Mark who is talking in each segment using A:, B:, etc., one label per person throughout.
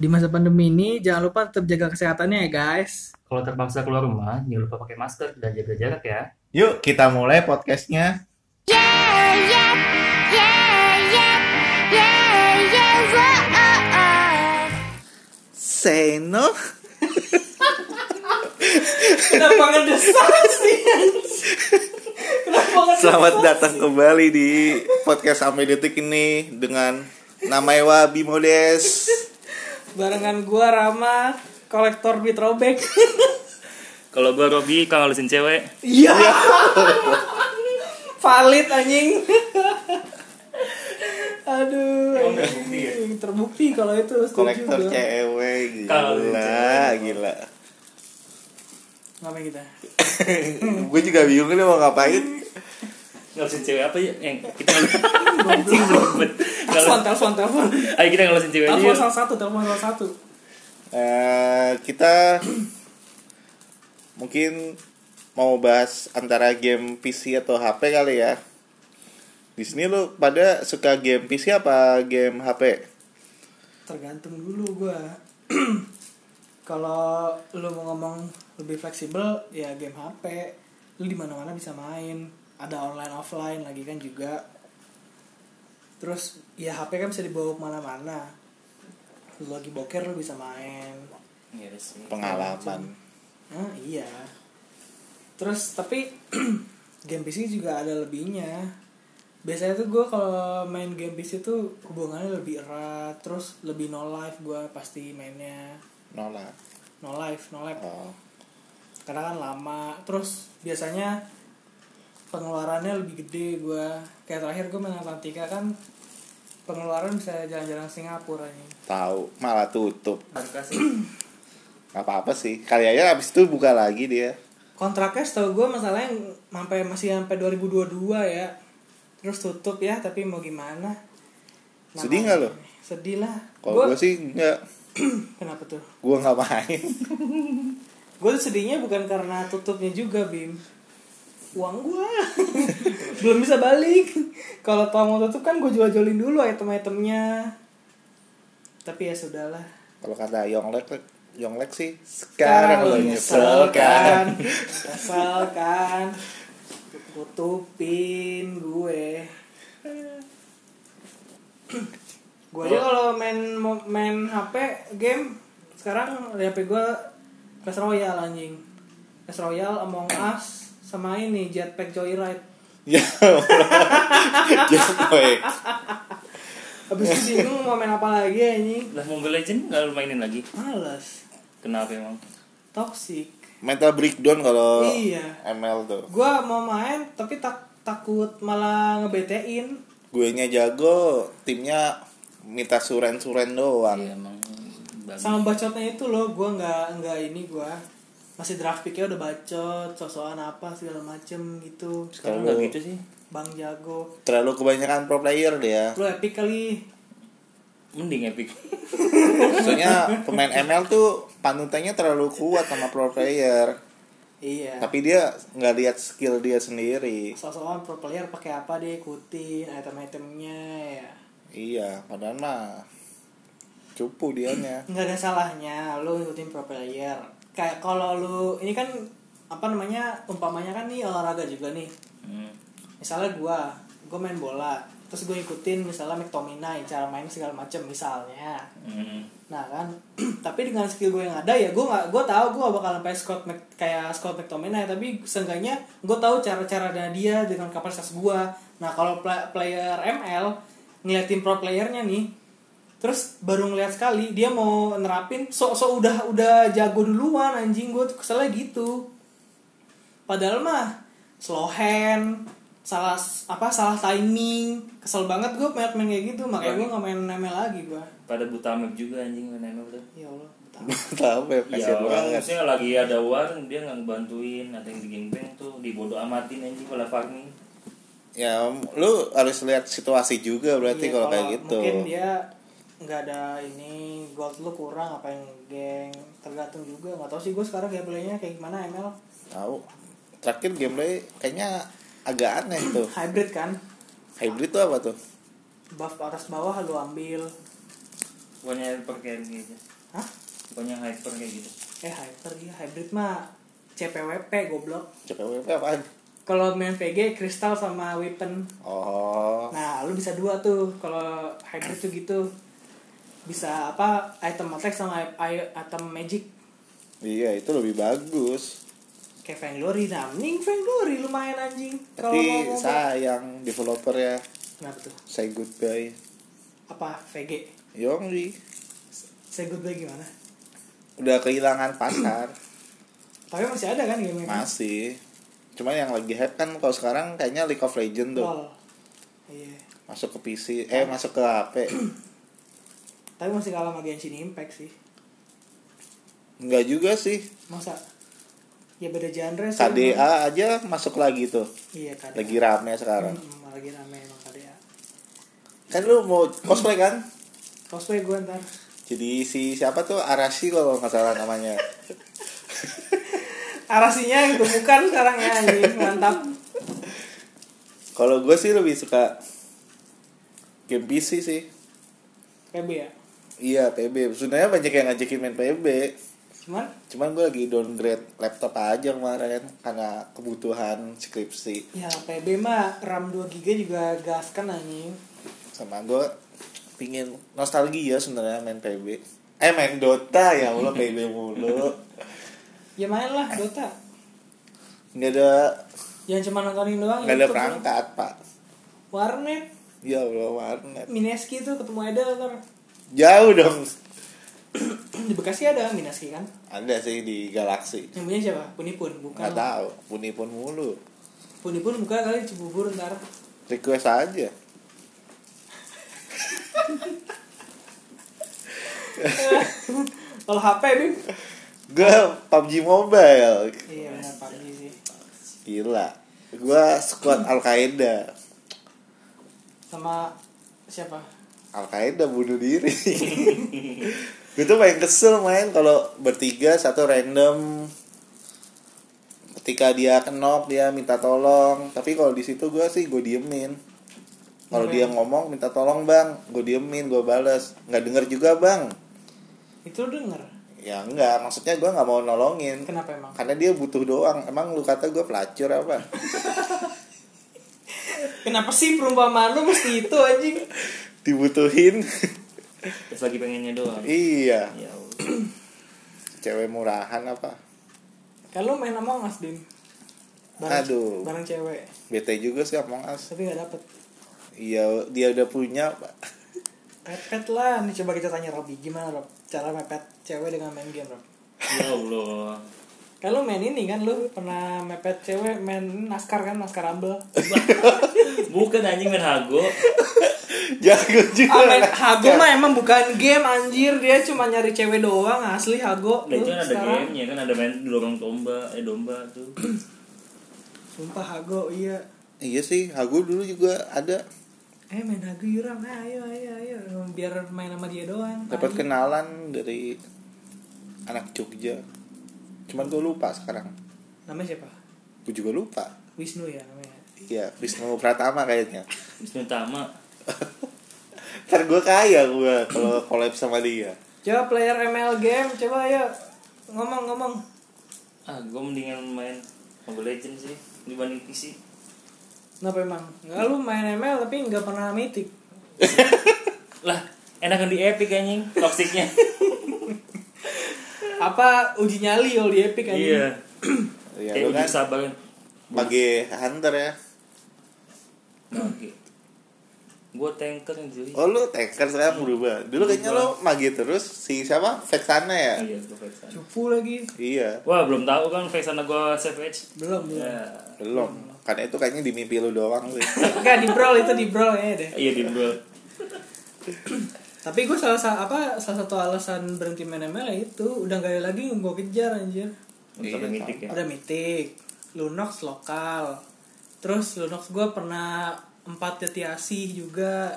A: di masa pandemi ini jangan lupa tetap jaga kesehatannya ya guys.
B: Kalau terpaksa keluar rumah, jangan lupa pakai masker dan jaga jarak ya.
C: Yuk kita mulai podcastnya.
D: Yeah, yeah, yeah, yeah, yeah, yeah, whoa.
C: Seno.
A: Kenapa ngedesak sih? Kenapa
C: Selamat datang kembali di podcast sampai detik ini dengan nama Ewa Bimodes.
A: Barengan gua Rama, kolektor duit robek.
B: Kalau gue Robi, kalau lusin cewek,
A: Iya. Valid anjing. Aduh. anjing. Terbukti kalau itu setuju
C: Kolektor
A: gua.
C: cewek
B: Kalau
A: E
C: gila, gila.
A: Ngapain kita?
C: Gue juga bingung ini mau ngapain.
B: ngelusin cewek apa ya? Yang kita anjing robot.
A: Telepon,
B: Kalau
A: telepon, telepon.
B: ayo kita ngelusin cewek aja.
A: Telepon
B: yuk.
A: salah satu, telepon salah satu.
C: Eh, kita mungkin mau bahas antara game PC atau HP kali ya. Di sini lu pada suka game PC apa game HP?
A: Tergantung dulu gua. kalau lu mau ngomong lebih fleksibel ya game HP. Lu di mana-mana bisa main. Ada online offline lagi kan juga. Terus ya HP kan bisa dibawa kemana mana Lu lagi boker lu bisa main.
C: Pengalaman.
A: Ah, iya. Terus tapi game PC juga ada lebihnya. Biasanya tuh gue kalau main game PC tuh hubungannya lebih erat, terus lebih no life gue pasti mainnya
C: Nolak.
A: no life, no life.
C: Oh.
A: Karena kan lama, terus biasanya pengeluarannya lebih gede gue. Kayak terakhir gue main Atlantika kan pengeluaran bisa jalan-jalan Singapura ini.
C: Tahu, malah tutup.
B: Kasih.
C: Gak apa-apa sih. Kali aja abis itu buka lagi dia.
A: kontraknya setahu gue masalahnya sampai masih sampai 2022 ya terus tutup ya tapi mau gimana Namanya-
C: Sedih nggak lo?
A: sedih lah
C: Kalau
A: Gua-
C: gue sih enggak,
A: kenapa tuh
C: gue nggak main.
A: gue sedihnya bukan karena tutupnya juga bim uang gue belum bisa balik kalau tau mau tutup kan gue jual-jualin dulu item-itemnya tapi ya sudahlah
C: Kalau kata Yonglek, Yonglek sih sekarang lo nyesel kan.
A: nyesel kan tutupin gue gue
C: Iya.
A: aja kalau main main HP game sekarang di HP gue Clash Royale anjing Clash Royale Among Us sama ini Jetpack Joyride
C: Ya Allah. Yonglek.
A: Abis itu bingung mau main apa lagi anjing
B: Lah Mobile Legend nggak lu mainin lagi?
A: Males
B: Kenapa emang?
A: Toxic
C: Mental breakdown kalau
A: Iya.
C: ML tuh.
A: Gue mau main tapi tak takut malah ngebetein
C: Gue nya jago, timnya minta suren-suren doang.
B: Iya emang bagus.
A: sama bacotnya itu loh gue nggak nggak ini gue masih draft picknya udah bacot sosokan apa segala macem gitu
B: Sekarang nggak gitu sih.
A: bang jago
C: Terlalu kebanyakan pro player dia.
A: lu epic kali
B: Mending epic.
C: Maksudnya pemain ML tuh panutannya terlalu kuat sama pro player.
A: iya
C: Tapi dia nggak lihat skill dia sendiri.
A: sosokan pro player pakai apa dia ikutin item-itemnya ya
C: Iya, padahal mah cupu dianya.
A: nggak ada salahnya lu ikutin pro player kayak kalau lu ini kan apa namanya umpamanya kan nih olahraga juga nih
B: Hmm.
A: misalnya gua gua main bola terus gue ikutin misalnya McTominay cara main segala macem misalnya
B: Hmm.
A: Nah kan, tapi dengan skill gue yang ada ya gue nggak gue tahu gue bakal sampai Scott Mc, kayak Scott McTominay tapi seenggaknya gue tahu cara-cara dari dia dengan kapasitas gue. Nah kalau pla- player ML ngeliatin pro playernya nih, terus baru ngeliat sekali dia mau nerapin so so udah udah jago duluan anjing gue tuh keselnya gitu. Padahal mah slow hand, salah apa salah timing, kesel banget gue main main kayak gitu makanya gue nggak main ML lagi gue.
B: Pada buta map juga anjing main ML tuh.
A: Ya Allah, betapa.
C: Tahu ya,
B: Ya
C: kasian
B: orang
C: banget.
B: maksudnya lagi ada war dia nggak bantuin ada yang di gangbang tuh dibodoh amatin anjing pada farming
C: Ya, lu harus lihat situasi juga berarti
A: Iya,
C: kalau kayak gitu.
A: Mungkin dia nggak ada ini gold lu kurang apa yang geng tergantung juga nggak tahu sih gue sekarang gameplaynya kayak gimana ML
C: Tahu. Terakhir gameplay kayaknya agak aneh tuh.
A: hybrid kan
C: Hybrid tuh apa tuh?
A: buff atas bawah lu ambil
B: Pokoknya hyper kayak gitu.
A: Hah?
B: Pokoknya hyper kayak gitu.
A: Eh hyper ya hybrid mah CPWP goblok.
C: CPWP apaan?
A: Kalau main PG kristal sama weapon.
C: Oh,
A: Nah, lu bisa dua tuh kalau hybrid tuh gitu. Bisa apa item attack sama i- i- item magic
C: iya itu lebih bagus.
A: kayak Vainglory nah mending Vainglory lumayan anjing kalau mau
C: Tapi
A: ngomong
C: sayang developer ya
A: kenapa tuh
C: say goodbye.
A: apa VG
C: Yongri
A: saya goodbye gimana
C: udah kehilangan pasar
A: tapi masih ada kan game
C: masih. Cuman yang lagi hype kan kalau sekarang kayaknya League of Legends tuh
A: lol iya
C: masuk ke PC eh masuk ke HP.
A: tapi masih kalah sama Genshin Impact sih
C: Enggak juga sih.
A: masa ya beda genre sih emang.
C: KDA aja masuk lagi tuh.
A: iya KDA
C: Lagi rame sekarang.
A: Mm, lagi rame emang KDA
C: Kan lu mau cosplay kan?
A: cosplay gue ntar
C: Jadi si siapa tuh Arashi kalau nggak salah namanya.
A: arasinya ditemukan sekarang ya anjing mantap
C: Kalau gue sih lebih suka game PC sih.
A: PB ya
C: Iya PB. Sebenarnya banyak yang ngajakin main PB.
A: cuman
C: Cuman gue lagi downgrade laptop aja kemarin karena kebutuhan skripsi
A: ya PB mah RAM 2 GB juga gas kan anjing
C: sama gue pingin nostalgia sebenarnya main PB. Eh main Dota ya Allah PB mulu.
A: ya main lah Dota
C: Nggak ada
A: jangan cuma nontonin doang
C: nggak ada
A: YouTube.
C: perangkat pak.
A: warnet
C: Ya Allah warnet.
A: Mineski tuh ketemu Edel ntar
C: Jauh dong.
A: di Bekasi ada Mineski kan
C: Ada sih di Galaxy.
A: yang punya siapa Punipun bukan
C: Nggak tahu. Puni pun mulu.
A: Punipun buka kali di Cibubur ntar
C: Request aja.
A: kalau HP Bim
C: Gue PUBG Mobile.
A: iya benar pagi sih
C: Gila. Gua squad Al Qaeda.
A: sama siapa
C: Al Qaeda bunuh diri. gue tuh main kesel main kalau bertiga satu random. Ketika dia kenok dia minta tolong. Tapi kalau di situ gue sih gue diemin. Kalau
A: Oke.
C: dia ngomong minta tolong bang, gue diemin, gue balas. Nggak denger juga bang.
A: itu lu denger
C: Ya enggak, maksudnya gue nggak mau nolongin.
A: kenapa emang
C: Karena dia butuh doang. Emang lu kata gue pelacur apa?
A: kenapa sih perumpamaan lu mesti itu anjing
C: Dibutuhin.
B: Terus lagi pengennya doang.
C: iya.
B: Ya Allah.
C: Cewek murahan apa?
A: kan lu main Among Us Bim
C: Aduh.
A: bareng cewek
C: Bete juga sih Among Us.
A: tapi gak dapet
C: Iya, dia udah punya. Pak.
A: mepet lah nih coba kita tanya Robi gimana Rob cara mepet cewek dengan main game Rob
B: Ya Allah.
A: kalau main ini kan lu pernah mepet cewek main naskar kan naskar rumble
B: Bukan anjing main hago.
C: Jago
A: Ah, main
C: juga.
A: Hago mah emang bukan game anjir dia cuma nyari cewek doang asli Hago
B: Nah, itu
A: Lu
B: kan ada
A: sekarang
B: gamenya kan ada main dorong domba, eh domba tuh.
A: sumpah Hago iya
C: Iya sih, Hago dulu juga ada
A: eh main Hago yuram eh, ayo ayo ayo biar main sama dia doang
C: dapat
A: Tai.
C: kenalan dari anak Jogja. Cuman gue lupa sekarang.
A: namanya siapa
C: Gue juga lupa.
A: Wisnu ya namanya
C: Iya, Wisnu Pratama kayaknya.
B: Wisnu Tama.
C: Ntar gue kaya gue kalau collab sama dia.
A: coba player ML game coba ayo ngomong ngomong
B: Ah, gue mendingan main Mobile Legends sih dibanding PC.
A: kenapa emang nggak lu main ML tapi nggak pernah mitik
B: Lah, enakan di Epic anjing, toksiknya.
A: apa uji nyali yo di Epic anjing
B: iya.
C: Iya,
B: Kayak
C: lu
B: udah
C: kan
B: sabar.
C: bagi hunter ya.
B: Nah, Oke. Gue tanker cuy.
C: Oh lu tanker saya berubah. Dulu kayaknya lu mage terus si siapa? Vexana ya?
B: Iya, gue Vexana.
A: cupu lagi
C: Iya,
B: Wah, belum tahu kan Vexana gue Savage.
A: belum belum
B: Ya.
C: belum. Karena itu kayaknya di mimpi lu doang sih.
A: nggak di brawl itu di brawl ya deh
B: Iya, di duel.
A: tapi gue salah sa- apa salah satu alasan berhenti main ML ya itu udah gak ada lagi yang gue kejar anjir
B: Untuk
C: Iya,
B: mitik ya.
A: udah mitik lunox lokal terus lunox gue pernah empat jati asih juga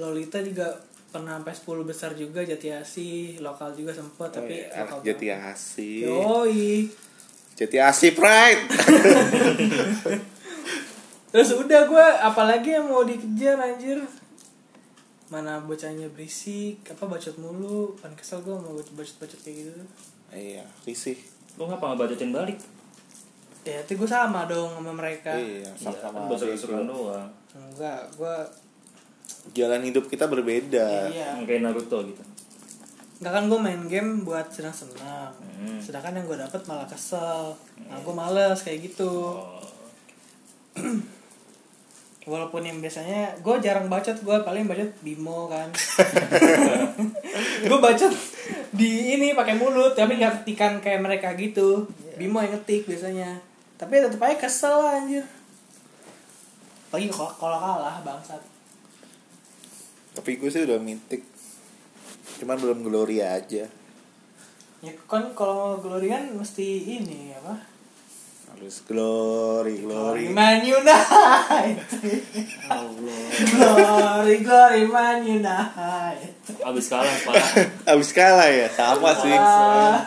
A: lolita juga pernah sampai 10 besar juga jati asih lokal juga sempet tapi
C: Eh, anak
A: lokal
C: jati
A: banget.
C: asih.
A: Yoi.
C: Jati asih pride.
A: terus udah gue apalagi yang mau dikejar anjir mana bocahnya berisik apa bacot mulu pan kesel gue mau bacot bacot kayak gitu tuh.
C: Iya, risih.
B: Lu ngapa nggak bacotin balik?
A: ya itu gue sama dong sama mereka
C: Iya,
B: Sama
C: sama-sama.
B: kan seru
C: bego.
B: doang.
A: enggak gue
C: Jalan hidup kita berbeda.
A: iya
B: Kayak Naruto gitu.
A: enggak kan gue main game buat senang senang
B: Hmm.
A: sedangkan yang gue dapet malah kesel nah gue males kayak gitu
B: Oh.
A: walaupun yang biasanya gue jarang bacot gue paling bacot bimo kan gue bacot di ini pakai mulut tapi nggak ketikan kayak mereka gitu bimo yang ngetik biasanya tapi tetep aja kesel lah, anjir lagi kalau kalau kalah bangsat
C: Tapi gue sih udah mitik. Cuman belum Gloria aja.
A: ya kan kalau glorian mesti ini apa
C: Harus Glory, Glory.
A: Man United Glory Glory Man United
B: Abis kalah parah.
C: Abis kalah ya, sama sih.
A: Ah.
B: eh.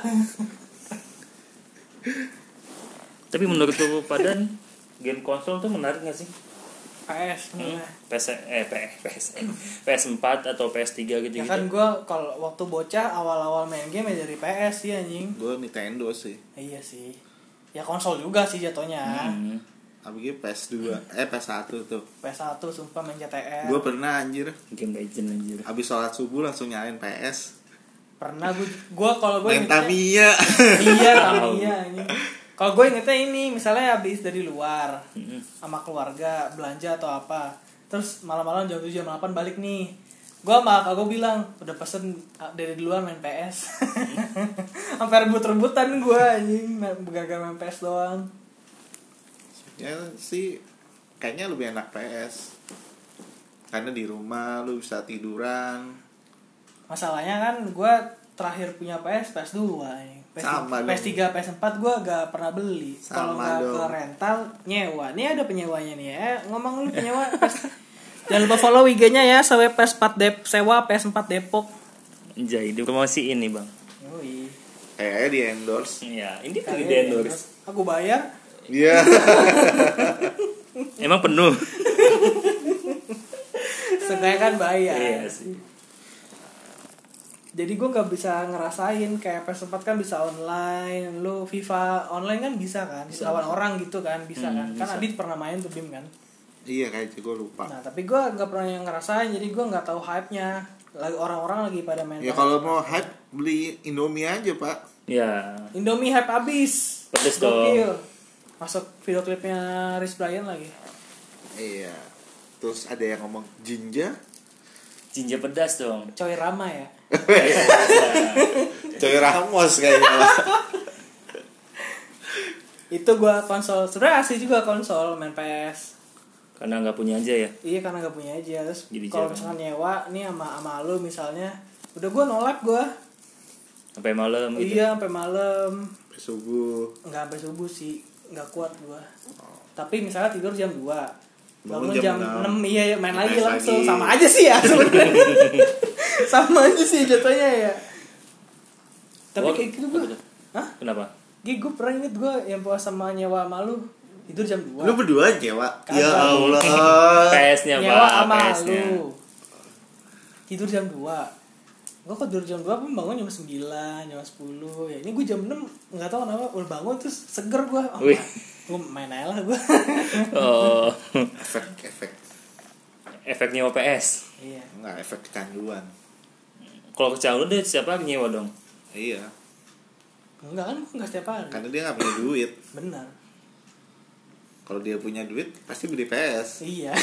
B: Tapi menurut lu pada nih, game konsol tuh menarik gak sih?
A: PS
B: Hmm?
A: nah.
B: PS eh PS PS PS4 atau PS3 gitu
A: Ya
B: gitu.
A: kan gue kalau waktu bocah awal-awal main game ya dari PS sih anjing.
C: Gue Nintendo sih.
A: Eh, iya sih. Ya konsol juga sih jatuhnya.
B: Hmm.
C: Apalagi PS2, eh PS1 tuh.
A: PS1 sumpah main CTR.
C: Gue pernah anjir,
B: Game legend anjir.
C: abis sholat subuh langsung nyalain PS.
A: Pernah gue gua kalau gue
C: Main Tamiya.
A: Iya, Tamiya anjing. Kalau gue ingetnya ini misalnya habis dari luar
B: Hmm.
A: sama keluarga belanja atau apa. Terus malam-malam jam 7 jam 8 balik nih. Gue sama kakak gue bilang udah pesen ah, dari duluan main PS. Sampai rebut-rebutan gue anjing gara-gara main PS doang.
C: ya sih kayaknya lebih enak PS. Karena di rumah lu bisa tiduran.
A: masalahnya kan gue terakhir punya PS PS 2 PS,
C: Sama dong.
A: PS 3 PS 4 gue gak pernah beli kalau
C: Sama
A: nggak ke
C: dong.
A: rental nyewa nih ada penyewanya nih ya ngomong lu penyewa PS. jangan lupa follow IG-nya ya sewa PS 4 Dep sewa PS 4 Depok
B: Anjay, promosi ini, Bang.
A: Yoi.
C: Kayaknya di endorse.
B: Iya, ini kan di
A: Kalian
B: endorse.
A: endorse. aku bayar
C: Iya.
B: Emang penuh.
A: Seenggaknya kan bayar
B: Iya sih.
A: jadi gue gak bisa ngerasain kayak PS 4 kan bisa online lu FIFA online kan bisa kan lawan orang gitu kan bisa
B: Hmm,
A: kan kan
B: bisa.
A: Adit pernah main tuh BIM kan
C: iya kayaknya gue lupa.
A: Nah, tapi gue nggak pernah yang ngerasain, jadi gue nggak tahu hype-nya. Lagi orang-orang lagi pada main.
C: Ya kalau mau hype beli Indomie aja, Pak.
B: Ya.
A: Indomie hype abis.
B: Pedes
A: Gokil. Masuk video klipnya Rich Brian lagi.
C: Iya. Terus ada yang ngomong jinja,
B: Jinja pedas dong.
A: Coy Rama ya.
B: Iya.
C: Coy Ramos kayaknya.
A: Itu gue konsol. Sebenarnya asli juga konsol main PS.
B: Karena nggak punya aja ya.
A: Iya karena gak punya aja. Terus
B: Jadi
A: kalau
B: jarang.
A: misalkan nyewa nih sama sama lu misalnya, udah gue nolak gue.
B: Sampai malam gitu.
A: Iya sampai malam
C: Subuh.
A: nggak sampai subuh sih nggak kuat gua tapi misalnya tidur jam 2 bangun
C: Bangun
A: jam,
C: jam
A: 6, iya iya, main
C: Main
A: lagi langsung
C: lagi.
A: sama aja sih ya sebenarnya. sama aja sih jatuhnya ya tapi
B: Wah,
A: kayak gitu gua
B: apa tuh?
A: hah
B: Kenapa?
A: Gih, gua pernah inget gua yang puas sama nyewa malu tidur jam 2
C: Lu berdua aja, Pak.
A: Kagak.
C: Ya Allah.
B: PS-nya,
A: Eh, nyewa
B: Bang.
A: sama
B: Ya, PS-nya.
A: lu tidur jam 2 gue kok tidur jam 2 pun bangun jam 9, jam 10 ya ini gue jam 6, gak tau kenapa udah bangun terus seger gue oh,
B: Wih.
A: gue main aja lah gue
B: Oh.
C: Efek efek.
B: Efeknya OPS.
A: iya
C: Enggak efek kecanduan.
B: Kalau kecanduan deh siapa yang nyewa dong?
C: Iya.
A: enggak kan gue gak setiap hari
C: Karena dia nggak punya duit.
A: benar
C: Kalau dia punya duit pasti beli PS.
A: iya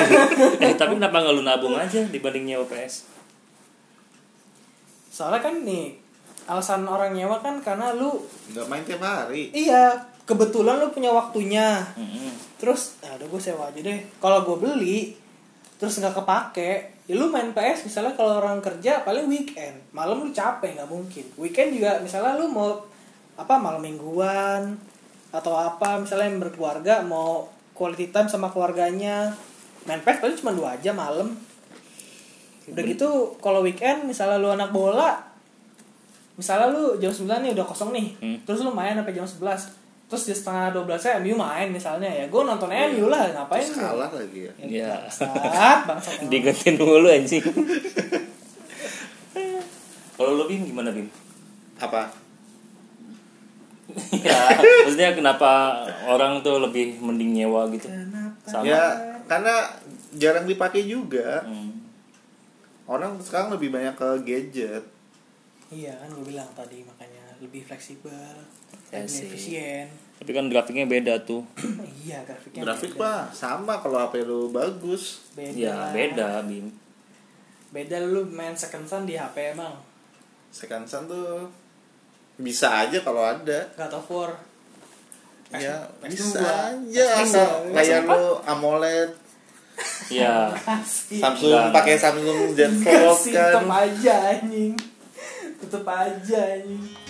B: eh, tapi kenapa nggak lu nabung aja dibanding nyewa PS?
A: soalnya kan nih alasan orang nyewa kan karena lu
C: Nggak main tiap hari.
A: iya kebetulan lu punya waktunya
B: Mm-mm.
A: terus ya udah gue sewa aja deh kalau gue beli terus nggak kepake ya lu main PS misalnya kalau orang kerja paling weekend malam lu capek nggak mungkin weekend juga misalnya lu mau apa malam mingguan atau apa misalnya yang berkeluarga mau quality time sama keluarganya main PS paling cuma dua jam malam udah gitu kalau weekend misalnya lu anak bola misalnya lu jam 9 nih udah kosong nih
B: Hmm.
A: terus lu main sampai jam 11 terus di setengah 12 saya MU main misalnya ya gue nonton MU lah ngapain
C: Terus kalah lagi ya
B: Iya.
A: saat bangsa
B: Digantiin dulu anjing. Kalau lu Bim gimana Bim?
C: apa
B: ya, maksudnya kenapa orang tuh lebih mending nyewa gitu? Sama.
C: ya karena jarang dipakai juga
B: Hmm.
C: orang sekarang lebih banyak ke gadget
A: iya kan gue bilang tadi makanya lebih fleksibel
B: Ya
A: lebih
B: sih.
A: efisien
B: Tapi kan grafiknya beda tuh.
A: iya grafiknya
C: grafik
A: beda.
C: mah sama kalau HP lu bagus
A: beda
B: Ya, beda Bim.
A: beda lu main second sun di HP emang
C: second sun tuh bisa aja kalau ada
A: God of War
C: ya
A: PS2.
C: bisa
A: PS2.
C: aja asal layar lu AMOLED
B: Ya,
A: Kasih.
C: Samsung
B: Enggak.
C: pakai Samsung Z Fold
A: Kasih tetep
C: kan
A: aja anjing tetep aja anjing